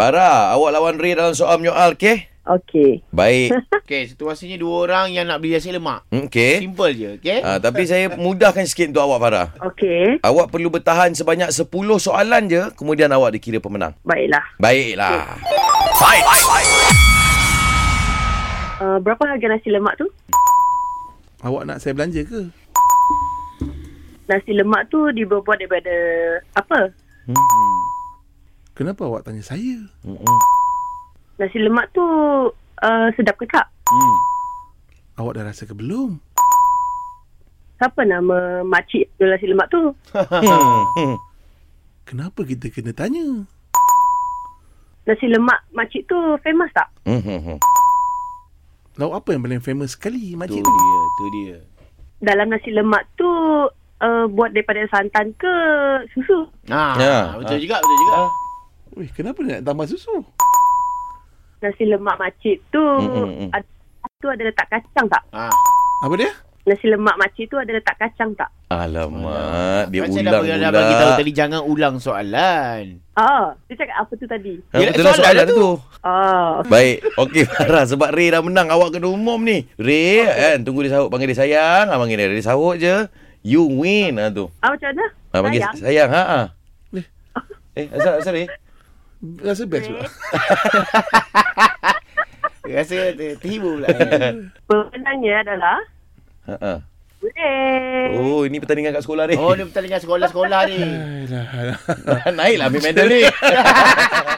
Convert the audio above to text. Farah, awak lawan Ray dalam soal menyoal, okey? Okey. Baik. Okay, situasinya dua orang yang nak beli nasi lemak. Hmm, Okey. Simple je, okay? Ah, tapi saya mudahkan sikit untuk awak, Farah. Okey. Awak perlu bertahan sebanyak 10 soalan je, kemudian awak dikira pemenang. Baiklah. Baiklah. Uh, berapa harga nasi lemak tu? Awak nak saya belanja ke? Nasi lemak tu dibuat daripada apa? Kenapa awak tanya saya? Hmm, Nasi lemak tu uh, sedap ke tak? Hmm, Awak dah rasa ke belum? Siapa nama makcik jual nasi lemak tu? Hmm, hmm. Kenapa kita kena tanya? Nasi lemak makcik tu famous tak? Hmm, hmm, hmm. Lauk Lah, apa yang paling famous Tu sekali makcik tu? dia, tu dia. Dalam nasi lemak tu uh, buat daripada santan ke susu? Nah, Ya. Ha, betul Ah. juga, betul juga. Weh, kenapa dia nak tambah susu? Nasi lemak makcik tu Mm-mm-mm. ad, tu ada letak kacang tak? Ah. Apa dia? Nasi lemak makcik tu ada letak kacang tak? Alamak, dia Kan saya ulang dah, pula. dah bagi tahu tadi jangan ulang soalan. Ah, dia cakap apa tu tadi? Ah, betul lah Soalan soalan tu. tu. Ah, Baik. Okey Farah sebab Ray dah menang awak kena umum ni. Ray kan tunggu dia sahut panggil dia sayang, ah panggil dia dia sahut je. You win ah tu. ah macam mana? Ah panggil sayang, Sayang? sayang ha ah. Eh. Eh, asal asal Ray? Rasa best pula. Rasa ter- terhibur pula. Pemenangnya adalah Ha ah. Boleh. Oh, ini pertandingan kat sekolah Ray. oh, dia bertandingan sekolah-sekolah ni. lah Alah, alah. Naiklah ambil medal ni.